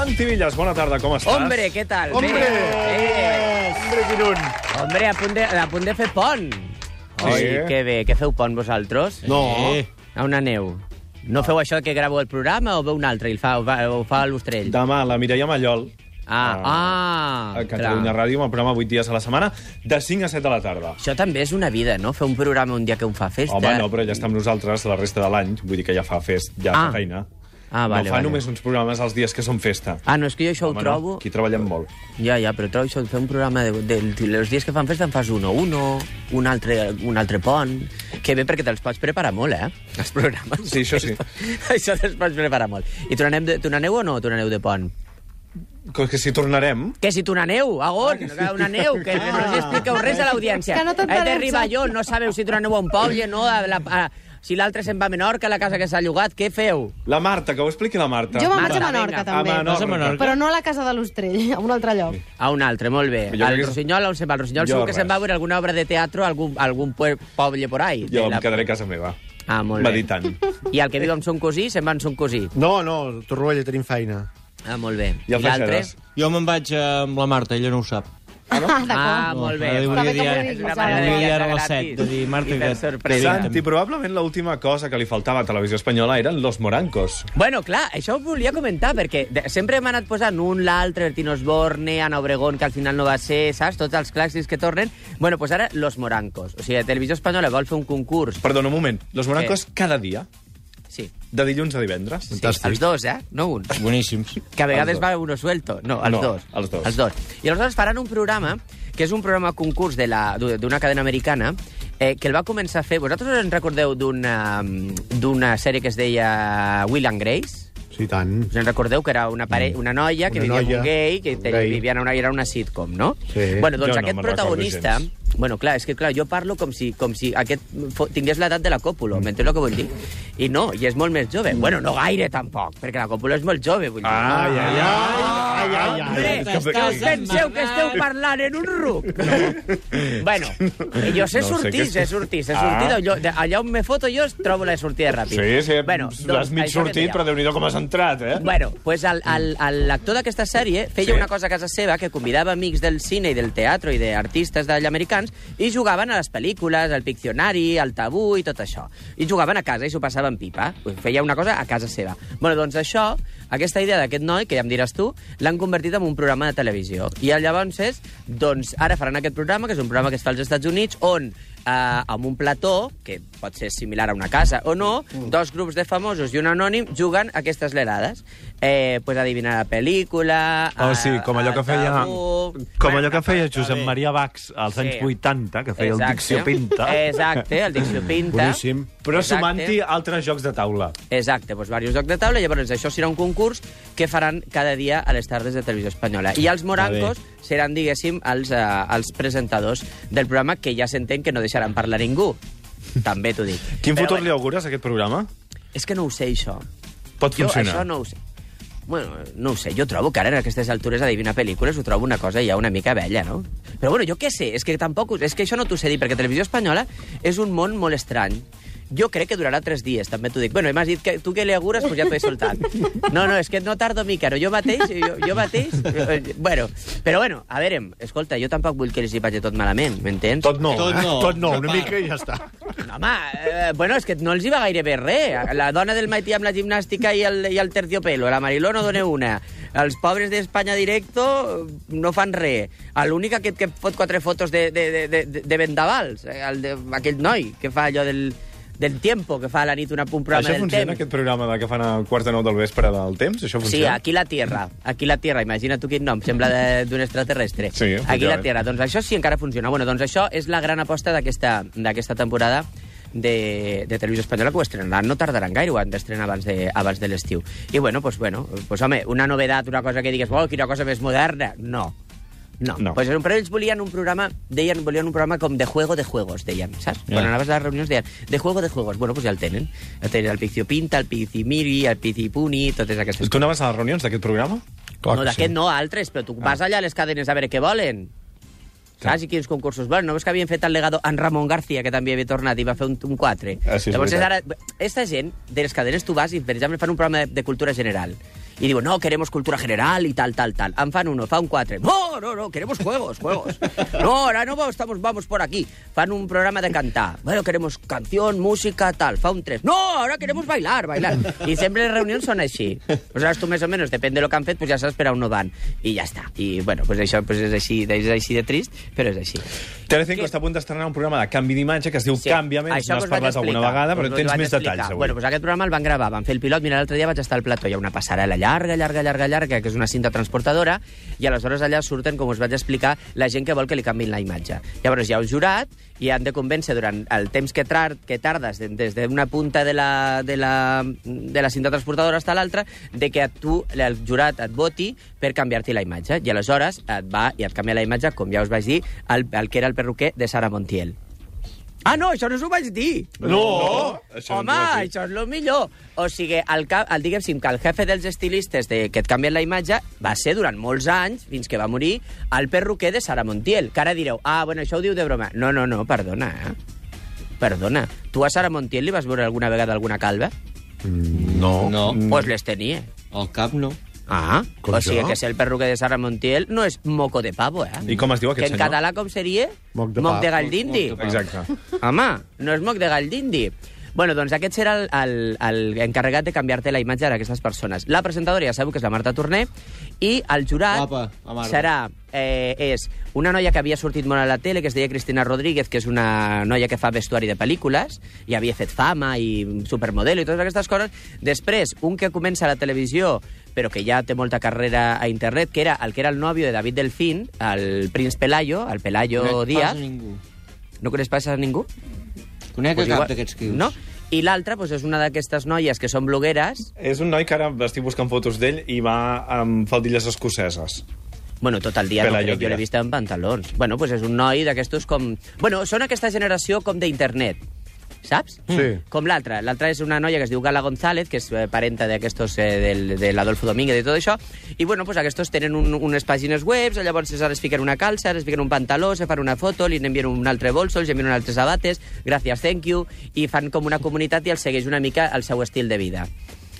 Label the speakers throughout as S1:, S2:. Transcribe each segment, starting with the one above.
S1: Agustí Villas, bona tarda, com estàs?
S2: Hombre, què tal? Bé.
S3: Hombre!
S2: Eh,
S3: Hombre, quin un!
S2: hombre, a punt de, a punt de fer pont.
S1: Sí.
S2: Oi, que bé. Què feu pont vosaltres?
S3: No.
S2: A on aneu? No feu això que gravo el programa o veu un altre i el fa, ho, va, ho fa l'Ostrell?
S1: Demà, la Mireia Mallol,
S2: Ah, ah,
S1: a Catalunya Ràdio, amb el programa 8 dies a la setmana, de 5 a 7 de la tarda.
S2: Això també és una vida, no? Fer un programa un dia que un fa festa.
S1: Home, no, però ja està amb nosaltres la resta de l'any, vull dir que ja fa fest, ja
S2: Ah.
S1: fa feina.
S2: Ah, vale,
S1: no fa
S2: vale.
S1: només uns programes els dies que són festa.
S2: Ah, no, és que jo això
S1: Home,
S2: ho trobo...
S1: No, aquí treballem molt.
S2: Ja, ja, però trobo això, fer un programa de, de, de, els dies que fan festa en fas un o un o un altre, un altre pont. Que bé, perquè te'ls pots preparar molt, eh? Els programes.
S1: Sí, això sí.
S2: això te'ls pots preparar molt. I tornarem de, tornareu o no tornareu de pont?
S1: Com que si tornarem...
S2: Que si tornareu, a
S1: Ah,
S2: on? Que una neu, que no els expliqueu res a l'audiència.
S4: Que no
S2: Heu
S4: t'entenem,
S2: de Riballó, no sabeu si tornareu a un poble, no? A la, a, si l'altre se'n va a Menorca, a la casa que s'ha llogat, què feu?
S1: La Marta, que ho expliqui la Marta.
S4: Jo me'n
S2: Marta,
S4: vaig a Menorca,
S2: vinga.
S4: també.
S1: A Menorca. Vas a Menorca?
S4: Però no a la casa de l'Ostrell, a un altre lloc.
S2: A un altre, molt bé.
S1: Jo
S2: Al
S1: crec que-
S2: Rossinyol, on se'n va? Al Rossinyol
S1: Jo
S2: segur que
S1: res.
S2: se'n va a veure alguna obra de teatre, algun, algun pue- poble por ahí.
S1: Jo
S2: de
S1: em quedaré a casa meva.
S2: Ah, molt bé.
S1: meditant.
S2: I el que diu amb son cosí, se'n va amb son cosí.
S3: No, no, torno a tenim feina.
S2: Ah, molt bé.
S1: I el
S2: l'altre?
S1: Freixedes?
S5: Jo me'n vaig eh, amb la Marta, ella no ho sap.
S4: Ah,
S2: Ah, molt bé.
S5: Li
S2: molt
S5: volia
S2: bé.
S4: També com
S5: dir,
S4: ho diguis,
S5: ara- li
S4: ara.
S5: volia dir ara a les
S2: Gratis.
S5: 7, de dir,
S2: I
S5: Marta,
S2: per
S5: que...
S2: sorpresa.
S5: Exacte.
S1: Santi, probablement l'última cosa que li faltava a Televisió Espanyola eren los morancos.
S2: Bueno, clar, això ho volia comentar, perquè de- sempre hem anat posant un, l'altre, Bertín Osborne, Ana Obregón, que al final no va ser, saps? Tots els clàssics que tornen. Bueno, doncs ara, Los Morancos. O sigui, Televisió Espanyola vol fer un concurs.
S1: Perdona, un moment. Los morancos cada dia,
S2: Sí,
S1: de dilluns a divendres.
S2: sí els dos, eh? No un.
S5: Boníssims.
S2: Que a vegades
S1: Els dos.
S2: va uno suelto. No, els
S1: No,
S2: dos.
S1: els dos.
S2: Els dos. I aleshores faran un programa, que és un programa concurs de la- d'u- d'una cadena americana, eh, que el va començar a fer... Vosaltres en recordeu d'una mm, d'una sèrie que es deia Will and Grace?
S3: Sí, tant.
S2: Us en recordeu que era una,
S1: Mm.
S2: pare... una noia que
S3: Una
S2: vivia amb
S3: noia,
S2: un gay, que
S3: un
S2: te...
S3: gay.
S2: vivia en una... era una sitcom, no?
S3: Sí.
S2: Bueno, doncs
S1: Jo no
S2: aquest
S1: me'n recordo
S2: protagonista...
S1: gens.
S2: Bueno, clar, és que clar, jo parlo com si, com si aquest fo- tingués l'edat de la
S1: Mm.
S2: còpula, m'entens el que vull dir? I no, i és molt més jove. Bueno, no gaire, tampoc, perquè la còpula és molt jove, vull dir.
S1: Ai, ai, ai.
S3: Ai, ai, ai.
S2: Hombre,
S1: que-
S2: que us penseu que esteu parlant en un ruc? Bueno, jo sé
S1: No sé
S2: sortir,
S1: què-
S2: sé sortir, sé
S1: Ah.
S2: sortir. d'allò- de- Allà on me foto jo trobo la sortida ràpida.
S1: Sí, sí, bueno, l'has mig
S2: doncs, això
S1: sortit,
S2: que deia.
S1: però déu nhi com has entrat, eh?
S2: Bueno, pues el- el- el- l'actor d'aquesta sèrie feia
S1: Sí.
S2: una cosa a casa seva que convidava amics del cine i del teatre i d'artistes d'allà americans i jugaven a les pel·lícules, al Piccionari, al Tabú i tot això. I jugaven a casa i s'ho passaven pipa. Pues feia una cosa a casa seva. Bueno, doncs això, aquesta idea d'aquest noi, que ja em diràs tu, l'han convertit en un programa de televisió. I llavors és, doncs, ara faran aquest programa, que és un programa que es fa als Estats Units, on eh, amb un plató, que pot ser similar a una casa o no, dos grups de famosos i un anònim juguen a aquestes lerades. Eh, pues adivinar la pel·lícula...
S6: O sigui, Oh, com allò
S2: el
S6: que feia...
S2: tabú.
S6: Com allò
S2: Bueno,
S6: que feia
S2: està
S6: Josep
S2: bé.
S6: Maria Bax als anys
S2: Sí.
S6: 80, que feia el
S2: Exacte.
S6: Dicció Pinta.
S2: Exacte, el Dicció Pinta.
S3: Boníssim.
S1: Però
S2: Exacte.
S1: sumant-hi altres jocs de taula.
S2: Exacte, doncs diversos jocs de taula. Llavors, això serà un concurs que faran cada dia a les tardes de Televisió Espanyola. I els morancos seran, diguéssim, els, eh, els presentadors del programa, que ja s'entén que no deixaran parlar ningú. També t'ho dic.
S1: Quin
S2: Però
S1: futur
S2: bé,
S1: li augures a aquest programa?
S2: És que no ho sé, això.
S1: Pot
S2: Jo
S1: funcionar.
S2: això no ho sé. Bueno, no ho sé, jo trobo que ara en aquestes altures adivinar pel·lícules ho trobo una cosa ja una mica vella, no? Però bueno, jo què sé, és que tampoc... us- És que això no t'ho sé dir, perquè Televisió Espanyola és un món molt estrany. Jo crec que durarà tres dies, també t'ho dic. Bueno, i m'has dit que tu que li augures, pues ja t'ho he soltat. No, no, és que no tardo mica, no? Jo mateix, jo, jo mateix... eh, Bueno, però bueno, a veure, escolta, jo tampoc vull que els hi vagi tot malament, m'entens?
S1: Tot no.
S5: Tot no.
S3: Tot no,
S5: Una
S3: una
S5: part.
S3: mica i ja està.
S2: No, home, eh, bueno, és que no els hi va gairebé res. La dona del Maití amb la gimnàstica i el, i el terciopelo. La Mariló no dona una. Els pobres d'Espanya Directo eh, no fan res. A L'única que, que fot quatre fotos de, de, de, de, de vendavals, eh, el de, aquell noi que fa allò del, del tiempo, que fa a la nit una, un programa
S1: Això
S2: del
S1: funciona,
S2: temps.
S1: aquest programa de que fan a quarts de nou del vespre del temps? Això
S2: Sí,
S1: funciona?
S2: aquí la Tierra. Aquí la Tierra, imagina tu quin nom, sembla de- d'un extraterrestre.
S1: Sí,
S2: aquí la
S1: efectivament.
S2: Tierra. Doncs això sí encara funciona. Bueno, doncs això és la gran aposta d'aquesta d'aquesta temporada de, de Televisió Espanyola que ho estrenaran. No tardaran gaire, ho han d'estrenar abans de, abans de l'estiu. I bueno, doncs, bueno, doncs, home, una novedat, una cosa que digues, oh, quina cosa més moderna. No. No.
S1: No.
S2: no. Pues, però ells volien un programa, deien, volien un programa com de juego de juegos, deien, saps? Yeah. Quan anaves a les reunions deien, de juego de juegos. Bueno, pues ja el tenen. Ja tenen el Pizio Pinta, el Pizzi Miri, el Pizzi Puni, totes aquestes
S1: Tu anaves a les reunions d'aquest programa?
S2: no, d'aquest no, altres, però
S1: Ah.
S2: tu vas allà a les cadenes a veure què volen. Saps? I quins concursos volen. No veus que havien fet el legado en Ramon García, que també havia tornat i va fer un, un 4.
S1: Ah, sí, és
S2: Llavors,
S1: veritat.
S2: ara, aquesta gent, de les cadenes, tu vas i, per exemple, fan un programa de, de cultura general. Y digo, no, queremos cultura general y tal, tal, tal. En fan uno, fan cuatro. No, no, no, queremos juegos, juegos. No, ahora no vamos, estamos, vamos por aquí. Fan un programa de cantar. Bueno, queremos canción, música, tal. Fan tres. No, ahora queremos bailar, bailar. I sempre les reunions són així. Aleshores, tu més o menys, depèn de lo que han fet, pues ja saps per on no van. I ja està. I, bueno, pues això pues és, així, és així de trist, però és així.
S1: Telecinco està a punt d'estrenar un programa de canvi d'imatge que es diu sí. Càmbiame,
S2: Això
S1: n'has
S2: us vaig
S1: parlat alguna
S2: explicar,
S1: vegada, però
S2: us ho
S1: tens
S2: vaig
S1: més
S2: explicar.
S1: detalls avui.
S2: Bueno, doncs aquest programa el van gravar, van fer el pilot, mira, l'altre dia vaig estar al plató, hi ha una passarel·la llarga, llarga, llarga, llarga, que és una cinta transportadora, i aleshores allà surten, com us vaig explicar, la gent que vol que li canviïn la imatge. Llavors hi ha un jurat, i han de convèncer durant el temps que, trar, que tardes de- des d'una punta de la, de, la, de la cinta transportadora fins a l'altra, de que a tu, el jurat et voti per canviar-te la imatge. I aleshores et va i et canvia la imatge, com ja us vaig dir, el, el que era el perruquer de Sara Montiel. Ah, no, això no us ho vaig dir.
S1: No, això no ens ho
S2: ah, Home,
S1: has dit.
S2: això és el millor. O sigui, el, cap, el diguéssim que el jefe dels estilistes de, que et canvien la imatge va ser durant molts anys, fins que va morir, el perruquer de Sara Montiel. Que ara direu, ah, bueno, això ho diu de broma. No, no, no, perdona, eh? Perdona. Tu a Sara Montiel li vas veure alguna vegada alguna calva?
S5: No.
S1: No.
S2: Mm. Pues les tenia.
S5: El cap no.
S2: Ah,
S3: Com
S2: o sigui
S3: jo?
S2: que ser el perruquer de Sara Montiel no és moco de pavo, eh?
S1: I com es diu aquest
S2: que en
S1: senyor?
S2: català com seria?
S3: Moc de
S2: moc
S3: pap.
S2: de galdindi.
S5: Moc de pap.
S1: Exacte.
S2: Home, no és moc de gall d'indi. Bueno, doncs aquest serà el, el, el encarregat de canviar-te la imatge d'aquestes persones. La presentadora ja sabeu que és la Marta Torné i el jurat
S5: Guapa, la Marta.
S2: serà eh, és una noia que havia sortit molt a la tele, que es deia Cristina Rodríguez, que és una noia que fa vestuari de pel·lícules, i havia fet fama i supermodelo i totes aquestes coses. Després, un que comença a la televisió, però que ja té molta carrera a internet, que era el que era el nòvio de David Delfín, el Prince Pelayo, el Pelayo
S5: Conec pas
S2: Díaz.
S5: a ningú.
S2: No coneix pas a ningú?
S5: Conec a
S2: Pues
S5: cap
S2: igual-
S5: d'aquests que dius.
S2: No? I l'altra pues, és una d'aquestes noies que són blogueres.
S1: És un noi que ara estic buscant fotos d'ell i va amb faldilles escoceses.
S2: Bueno, tot el dia
S1: Pela
S2: no crec, jo
S1: llotja.
S2: l'he vist en pantalons. Bueno, pues és un noi d'aquestos com... Bueno, són aquesta generació com d'internet. Saps? Mm.
S3: Sí.
S2: Com l'altra. L'altra és una noia que es diu Gala González, que és eh, parenta d'aquestos, eh, del, de l'Adolfo Domínguez i tot això. I, bueno, pues aquests tenen un, unes pàgines web, llavors ara es fiquen una calça, ara es fiquen un pantaló, se fan una foto, li envien un altre bolso, els envien un altre sabates, gràcies, thank you, i fan com una comunitat i els segueix una mica el seu estil de vida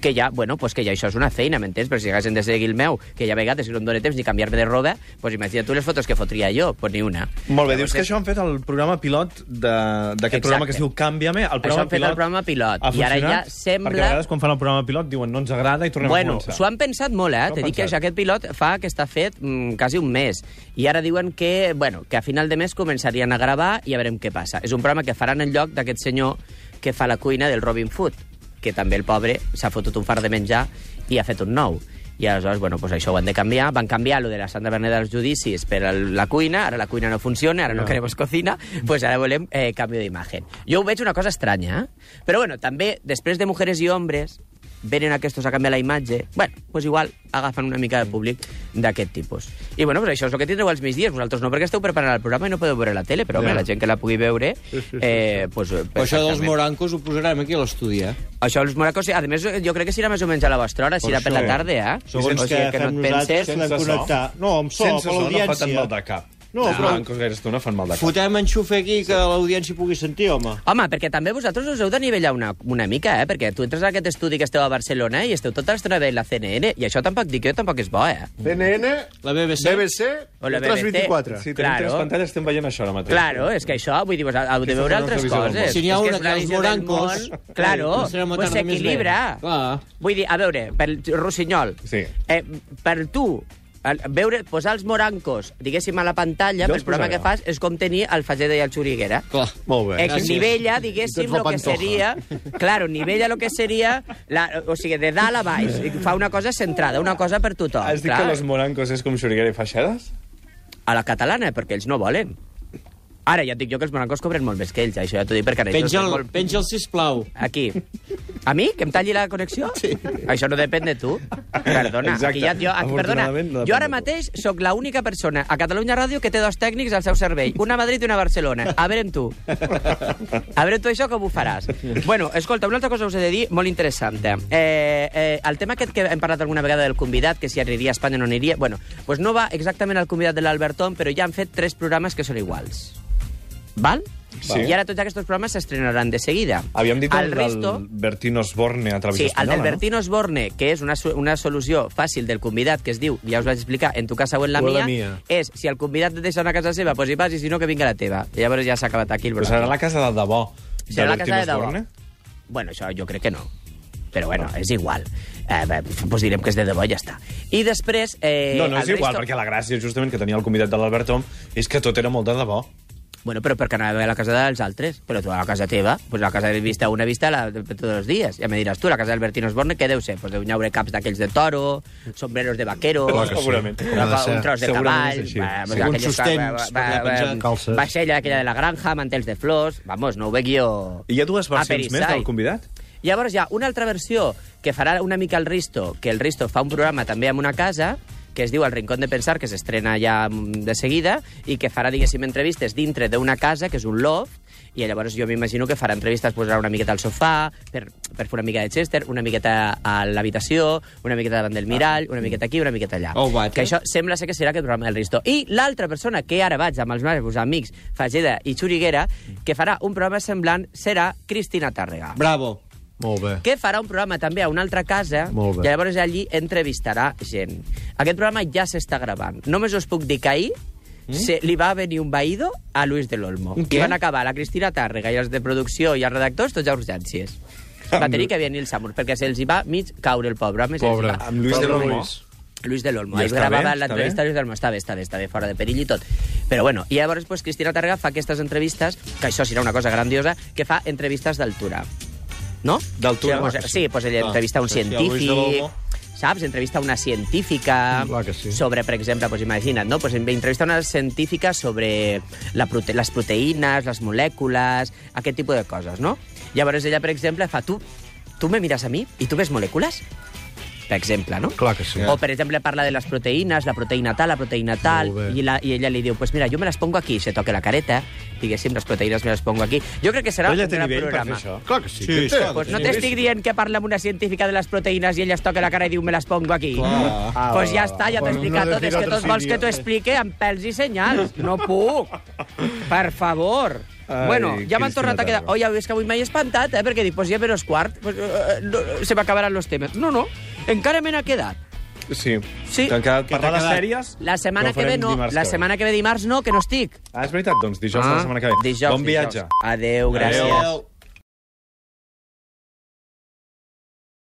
S2: que ja, bueno, pues que ja això és una feina, m'entens? Però si haguessin de seguir el meu, que ja a vegades no em dóna temps ni canviar-me de roba, pues imagina't tu les fotos que fotria jo, pues ni una.
S1: Molt bé, dius
S2: Llavors,
S1: que això han fet el programa pilot de- d'aquest
S2: Exacte.
S1: programa que es diu Càmbiame. El
S2: Això
S1: programa
S2: han fet el
S1: pilot
S2: programa pilot,
S1: ha
S2: i ara
S1: funcionat?
S2: ja sembla-
S1: Perquè a vegades quan fan el programa pilot diuen no ens agrada i tornem
S2: Bueno,
S1: a començar.
S2: s'ho han pensat molt, eh?
S1: S'ho han
S2: T'he dit que
S1: pensat.
S2: aquest pilot fa que està fet mm, quasi un mes. I ara diuen que, bueno, que a final de mes començarien a gravar i a veurem què passa. És un programa que faran en lloc d'aquest senyor que fa la cuina del Robin Food, que també el pobre s'ha fotut un far de menjar i ha fet un nou. I aleshores, bueno, pues això ho han de canviar. Van canviar lo de la Santa Bernada dels judicis per el, la cuina, ara la cuina no funciona,
S1: Ah.
S2: ara no, no queremos cocina, pues ara volem eh, canvi d'imatge. Jo ho veig una cosa estranya, eh? Però bueno, també, després de Mujeres i Hombres, venen aquests a canviar la imatge, bueno, pues igual agafen una mica de públic d'aquest tipus. I bueno, pues això és el que tindreu als migdies. Vosaltres no, perquè esteu preparant el programa i no podeu veure la tele, però home, la gent que la pugui veure... Eh, pues,
S5: Però això dels
S2: perfectament.
S5: morancos ho posarem aquí a l'estudi, eh?
S2: Això dels moracos... A més, jo crec que serà més o menys a la vostra hora, serà per la tarda, eh?
S5: Segons
S2: o sigui, que no et penses...
S1: sense so.
S3: No, amb so,
S1: Sense
S3: per
S1: so no fa
S3: l'audiència.
S1: tan mal de cap. Ah,
S3: No,
S1: Els
S3: però-
S1: blancos gaire estona fan mal de cap.
S5: Fotem enxufe aquí que l'audiència pugui sentir, home.
S2: Home, perquè també vosaltres us heu de nivellar una, una mica, eh? Perquè tu entres a aquest estudi que esteu a Barcelona i esteu tota l'estona veient la CNN, i això tampoc dic jo, tampoc és bo, eh?
S3: CNN,
S5: La BBC?
S3: BBC,
S2: O la BBC.
S3: 324.
S1: Si tenim
S2: Claro.
S1: tres pantalles estem veient això ara mateix.
S2: Claro, és que això, vull dir, vos- heu de
S1: Aquesta
S2: veure
S1: serà
S2: altres
S1: una televisió del
S2: coses.
S1: món.
S5: Si n'hi ha
S2: És que
S5: una
S2: és
S5: que els
S2: visió del
S5: morancos... eh,
S2: món, Claro,
S5: serà una
S2: pues
S5: tarda més
S2: s'equilibra.
S5: bé. Clar.
S2: Vull dir, a veure, per Rossinyol,
S1: Sí.
S2: eh, per tu, el- veure, posar els morancos, diguéssim, a la pantalla,
S1: Jo
S2: pel
S1: els
S2: programa que
S1: posaré. eh,
S2: fas, és com tenir el Fageda i el Xuriguera.
S5: Clar.
S3: Molt bé.
S5: gràcies.
S2: Nivella, diguéssim,
S3: Tots fa
S2: lo que
S3: pantoja.
S2: seria... Claro, nivella lo que seria... La, o sigui, de dalt a baix. I Fa una cosa centrada, una cosa per tothom.
S1: Has dit
S2: clar.
S1: que los morancos és com xuriguera i faixades?
S2: A la catalana, perquè ells no volen. Ara, ja et dic jo que els morancos cobren molt més que ells, això ja t'ho dic perquè... ara ells no estan
S5: Penja'l,
S2: molt-
S5: penja'l, sisplau.
S2: Aquí. A mi? Que em talli la connexió? Sí. Això no depèn de tu. Perdona.
S1: Exacte.
S2: Aquí ja, jo, aquí, perdona.
S1: Afortunadament, no depèn
S2: jo ara
S1: de tu.
S2: mateix sóc l'única persona a Catalunya Ràdio que té dos tècnics al seu servei. Una a Madrid i una a Barcelona. A veure amb tu. A veure tu això com ho faràs. Bueno, escolta, una altra cosa us he de dir molt interessant. Eh, eh, el tema aquest que hem parlat alguna vegada del convidat, que si aniria a Espanya o no aniria... Bueno, pues no va exactament al convidat de l'Alberton, però ja han fet tres programes que són iguals. Val?
S1: Sí.
S2: I ara tots aquests programes s'estrenaran de seguida.
S1: Havíem dit el,
S2: el resto,
S1: del Bertino Osborne a través
S2: Sí, el
S1: espanyola,
S2: d'Albertino Osborne, que és una, so- una solució fàcil del convidat que es diu, ja us vaig explicar, en tu casa o en la,
S3: O la
S2: mia,
S3: mia.
S2: és si el convidat et deixa anar a casa seva, doncs hi vas, i si no, que vingui a la teva. I llavors ja s'ha acabat aquí el
S1: no? Però serà la casa de debò.
S2: Serà la
S1: d'Albertino
S2: casa de debò.
S1: Osborne?
S2: Bueno, això jo crec que no. Però bueno, és igual. Eh, bé, doncs direm que és de debò i ja està. I després... Eh,
S1: No, no és
S2: el
S1: igual,
S2: resto-
S1: perquè la gràcia justament que tenia el convidat de l'Albert Om és que tot era molt de debò.
S2: Bueno, però perquè anava a la casa dels altres. Però tu a la casa teva, pues la casa de vista una vista la, de tots els dies. Ja me diràs tu, la casa d'Albertino Osborne, què deu ser? Pues deu llaure caps d'aquells de toro, sombreros de vaquero...
S1: Clar que sí. Segurament.
S2: Una,
S3: Ha de ser.
S2: un tros de
S1: Segurament
S2: cavall...
S1: és així.
S2: va,
S5: Segons
S2: aquelles
S5: sostens,
S2: va- va-
S5: per allà
S2: va-
S5: penjant.
S3: Calces.
S2: Vaixella, aquella de la granja, mantells de flors... Vamos, no ho veig jo...
S1: I hi ha dues
S2: Upper
S1: versions
S2: East
S1: més del
S2: Side.
S1: convidat?
S2: Llavors hi ha una altra versió que farà una mica el Risto, que el Risto fa un programa també en una casa, que es diu El Rincón de Pensar, que s'estrena ja mm, de seguida, i que farà, diguéssim, entrevistes dintre d'una casa, que és un loft, i llavors jo m'imagino que farà entrevistes, posarà una miqueta al sofà, per, per fer una mica de Chester, una miqueta a l'habitació, una miqueta davant del mirall, una miqueta aquí, una miqueta allà.
S5: Oh, what?
S2: que això sembla ser que serà aquest programa del Risto. I l'altra persona, que ara vaig amb els meus amics Fageda i Xuriguera, que farà un programa semblant, serà Cristina Tàrrega
S5: Bravo.
S3: Molt bé.
S2: que farà un programa també a una altra casa
S3: Molt bé.
S2: i llavors allí entrevistarà gent. Aquest programa ja s'està gravant. Només us puc dir que ahir
S3: Mm?
S2: se, li va venir un vaïdo a Luis del Olmo.
S5: Un
S2: I
S5: què?
S2: van acabar la Cristina Tàrrega i els de producció i els redactors tots a urgències. Va tenir que venir el Samur, perquè se'ls hi va mig caure el pobre. A Més se'ls hi
S3: Pobre.
S2: Va...
S1: Amb Luis de
S3: Pablo
S1: Olmo.
S3: Luis.
S2: Luis de l'Olmo.
S1: I
S2: Ahir
S1: està bé?
S2: gravava
S1: Està
S2: l'entrevista
S1: bé?
S2: a Luis de l'Olmo. Està bé, està bé, està bé, fora de perill i tot. Però bueno, i llavors pues, Cristina Targa fa aquestes entrevistes, que això serà una cosa grandiosa, que fa entrevistes d'altura. No?
S1: D'altura?
S2: O sigui, pues, sí, pues, ella
S5: Ah,
S2: entrevista a un
S5: sí, sí, a Luis de
S2: científic,
S5: l'Olmo.
S2: saps? Entrevista a una científica
S3: Clar que sí.
S2: sobre, per exemple, pues, imagina't, no? Pues, entrevista a una científica sobre la prote les proteïnes, les molècules, aquest tipus de coses, no? Llavors ella, per exemple, fa tu, tu me mires a mi i tu ves molècules? Per exemple, no?
S3: Clar que sí.
S2: O, per exemple, parla de les proteïnes, la proteïna tal, la proteïna tal,
S3: Molt bé.
S2: i, la, i ella li diu, pues mira, jo me les pongo aquí, se toca la careta, diguéssim, les proteïnes me les pongo aquí. Jo crec que serà
S1: Però ella
S2: un
S1: té
S2: gran
S1: nivell per fer
S2: programa.
S1: això.
S3: Clar que sí.
S5: Sí,
S3: que té.
S1: Doncs
S5: sí.
S2: Pues no
S5: Sí.
S2: t'estic dient que parla amb una científica de les proteïnes i ella es toca la cara i diu me les pongo aquí.
S5: Clar.
S2: Ah, pues ja està, ja t'ho he
S3: Bueno,
S2: explicat
S3: no
S2: tot. És
S3: decir
S2: que
S3: otro
S2: tots vols
S3: sitio.
S2: que t'ho explique amb pèls i senyals. No puc. Per favor.
S1: Ai,
S2: Ai, bueno, ja m'han
S1: Cristina
S2: tornat a quedar...
S1: Tarragó.
S2: Oi, ja veus que avui m'he espantat, eh? Perquè dic, pues ja veros quart, pues, eh, no, se m'acabaran los temes. No, no, encara me n'ha quedat.
S1: Sí.
S2: Sí.
S1: Que han quedat
S5: Que t'ha
S1: parlar de
S5: quedat.
S1: sèries?
S2: La setmana
S1: que ho
S2: que ve
S1: farem
S2: no,
S1: dimarts
S2: la
S1: que ve.
S2: setmana que ve dimarts no, que no estic.
S1: Ah, és veritat, doncs dijous ah, la setmana que ve.
S2: Dijous,
S1: bon viatge.
S2: Dijous. Adeu, gràcies.
S5: Adéu.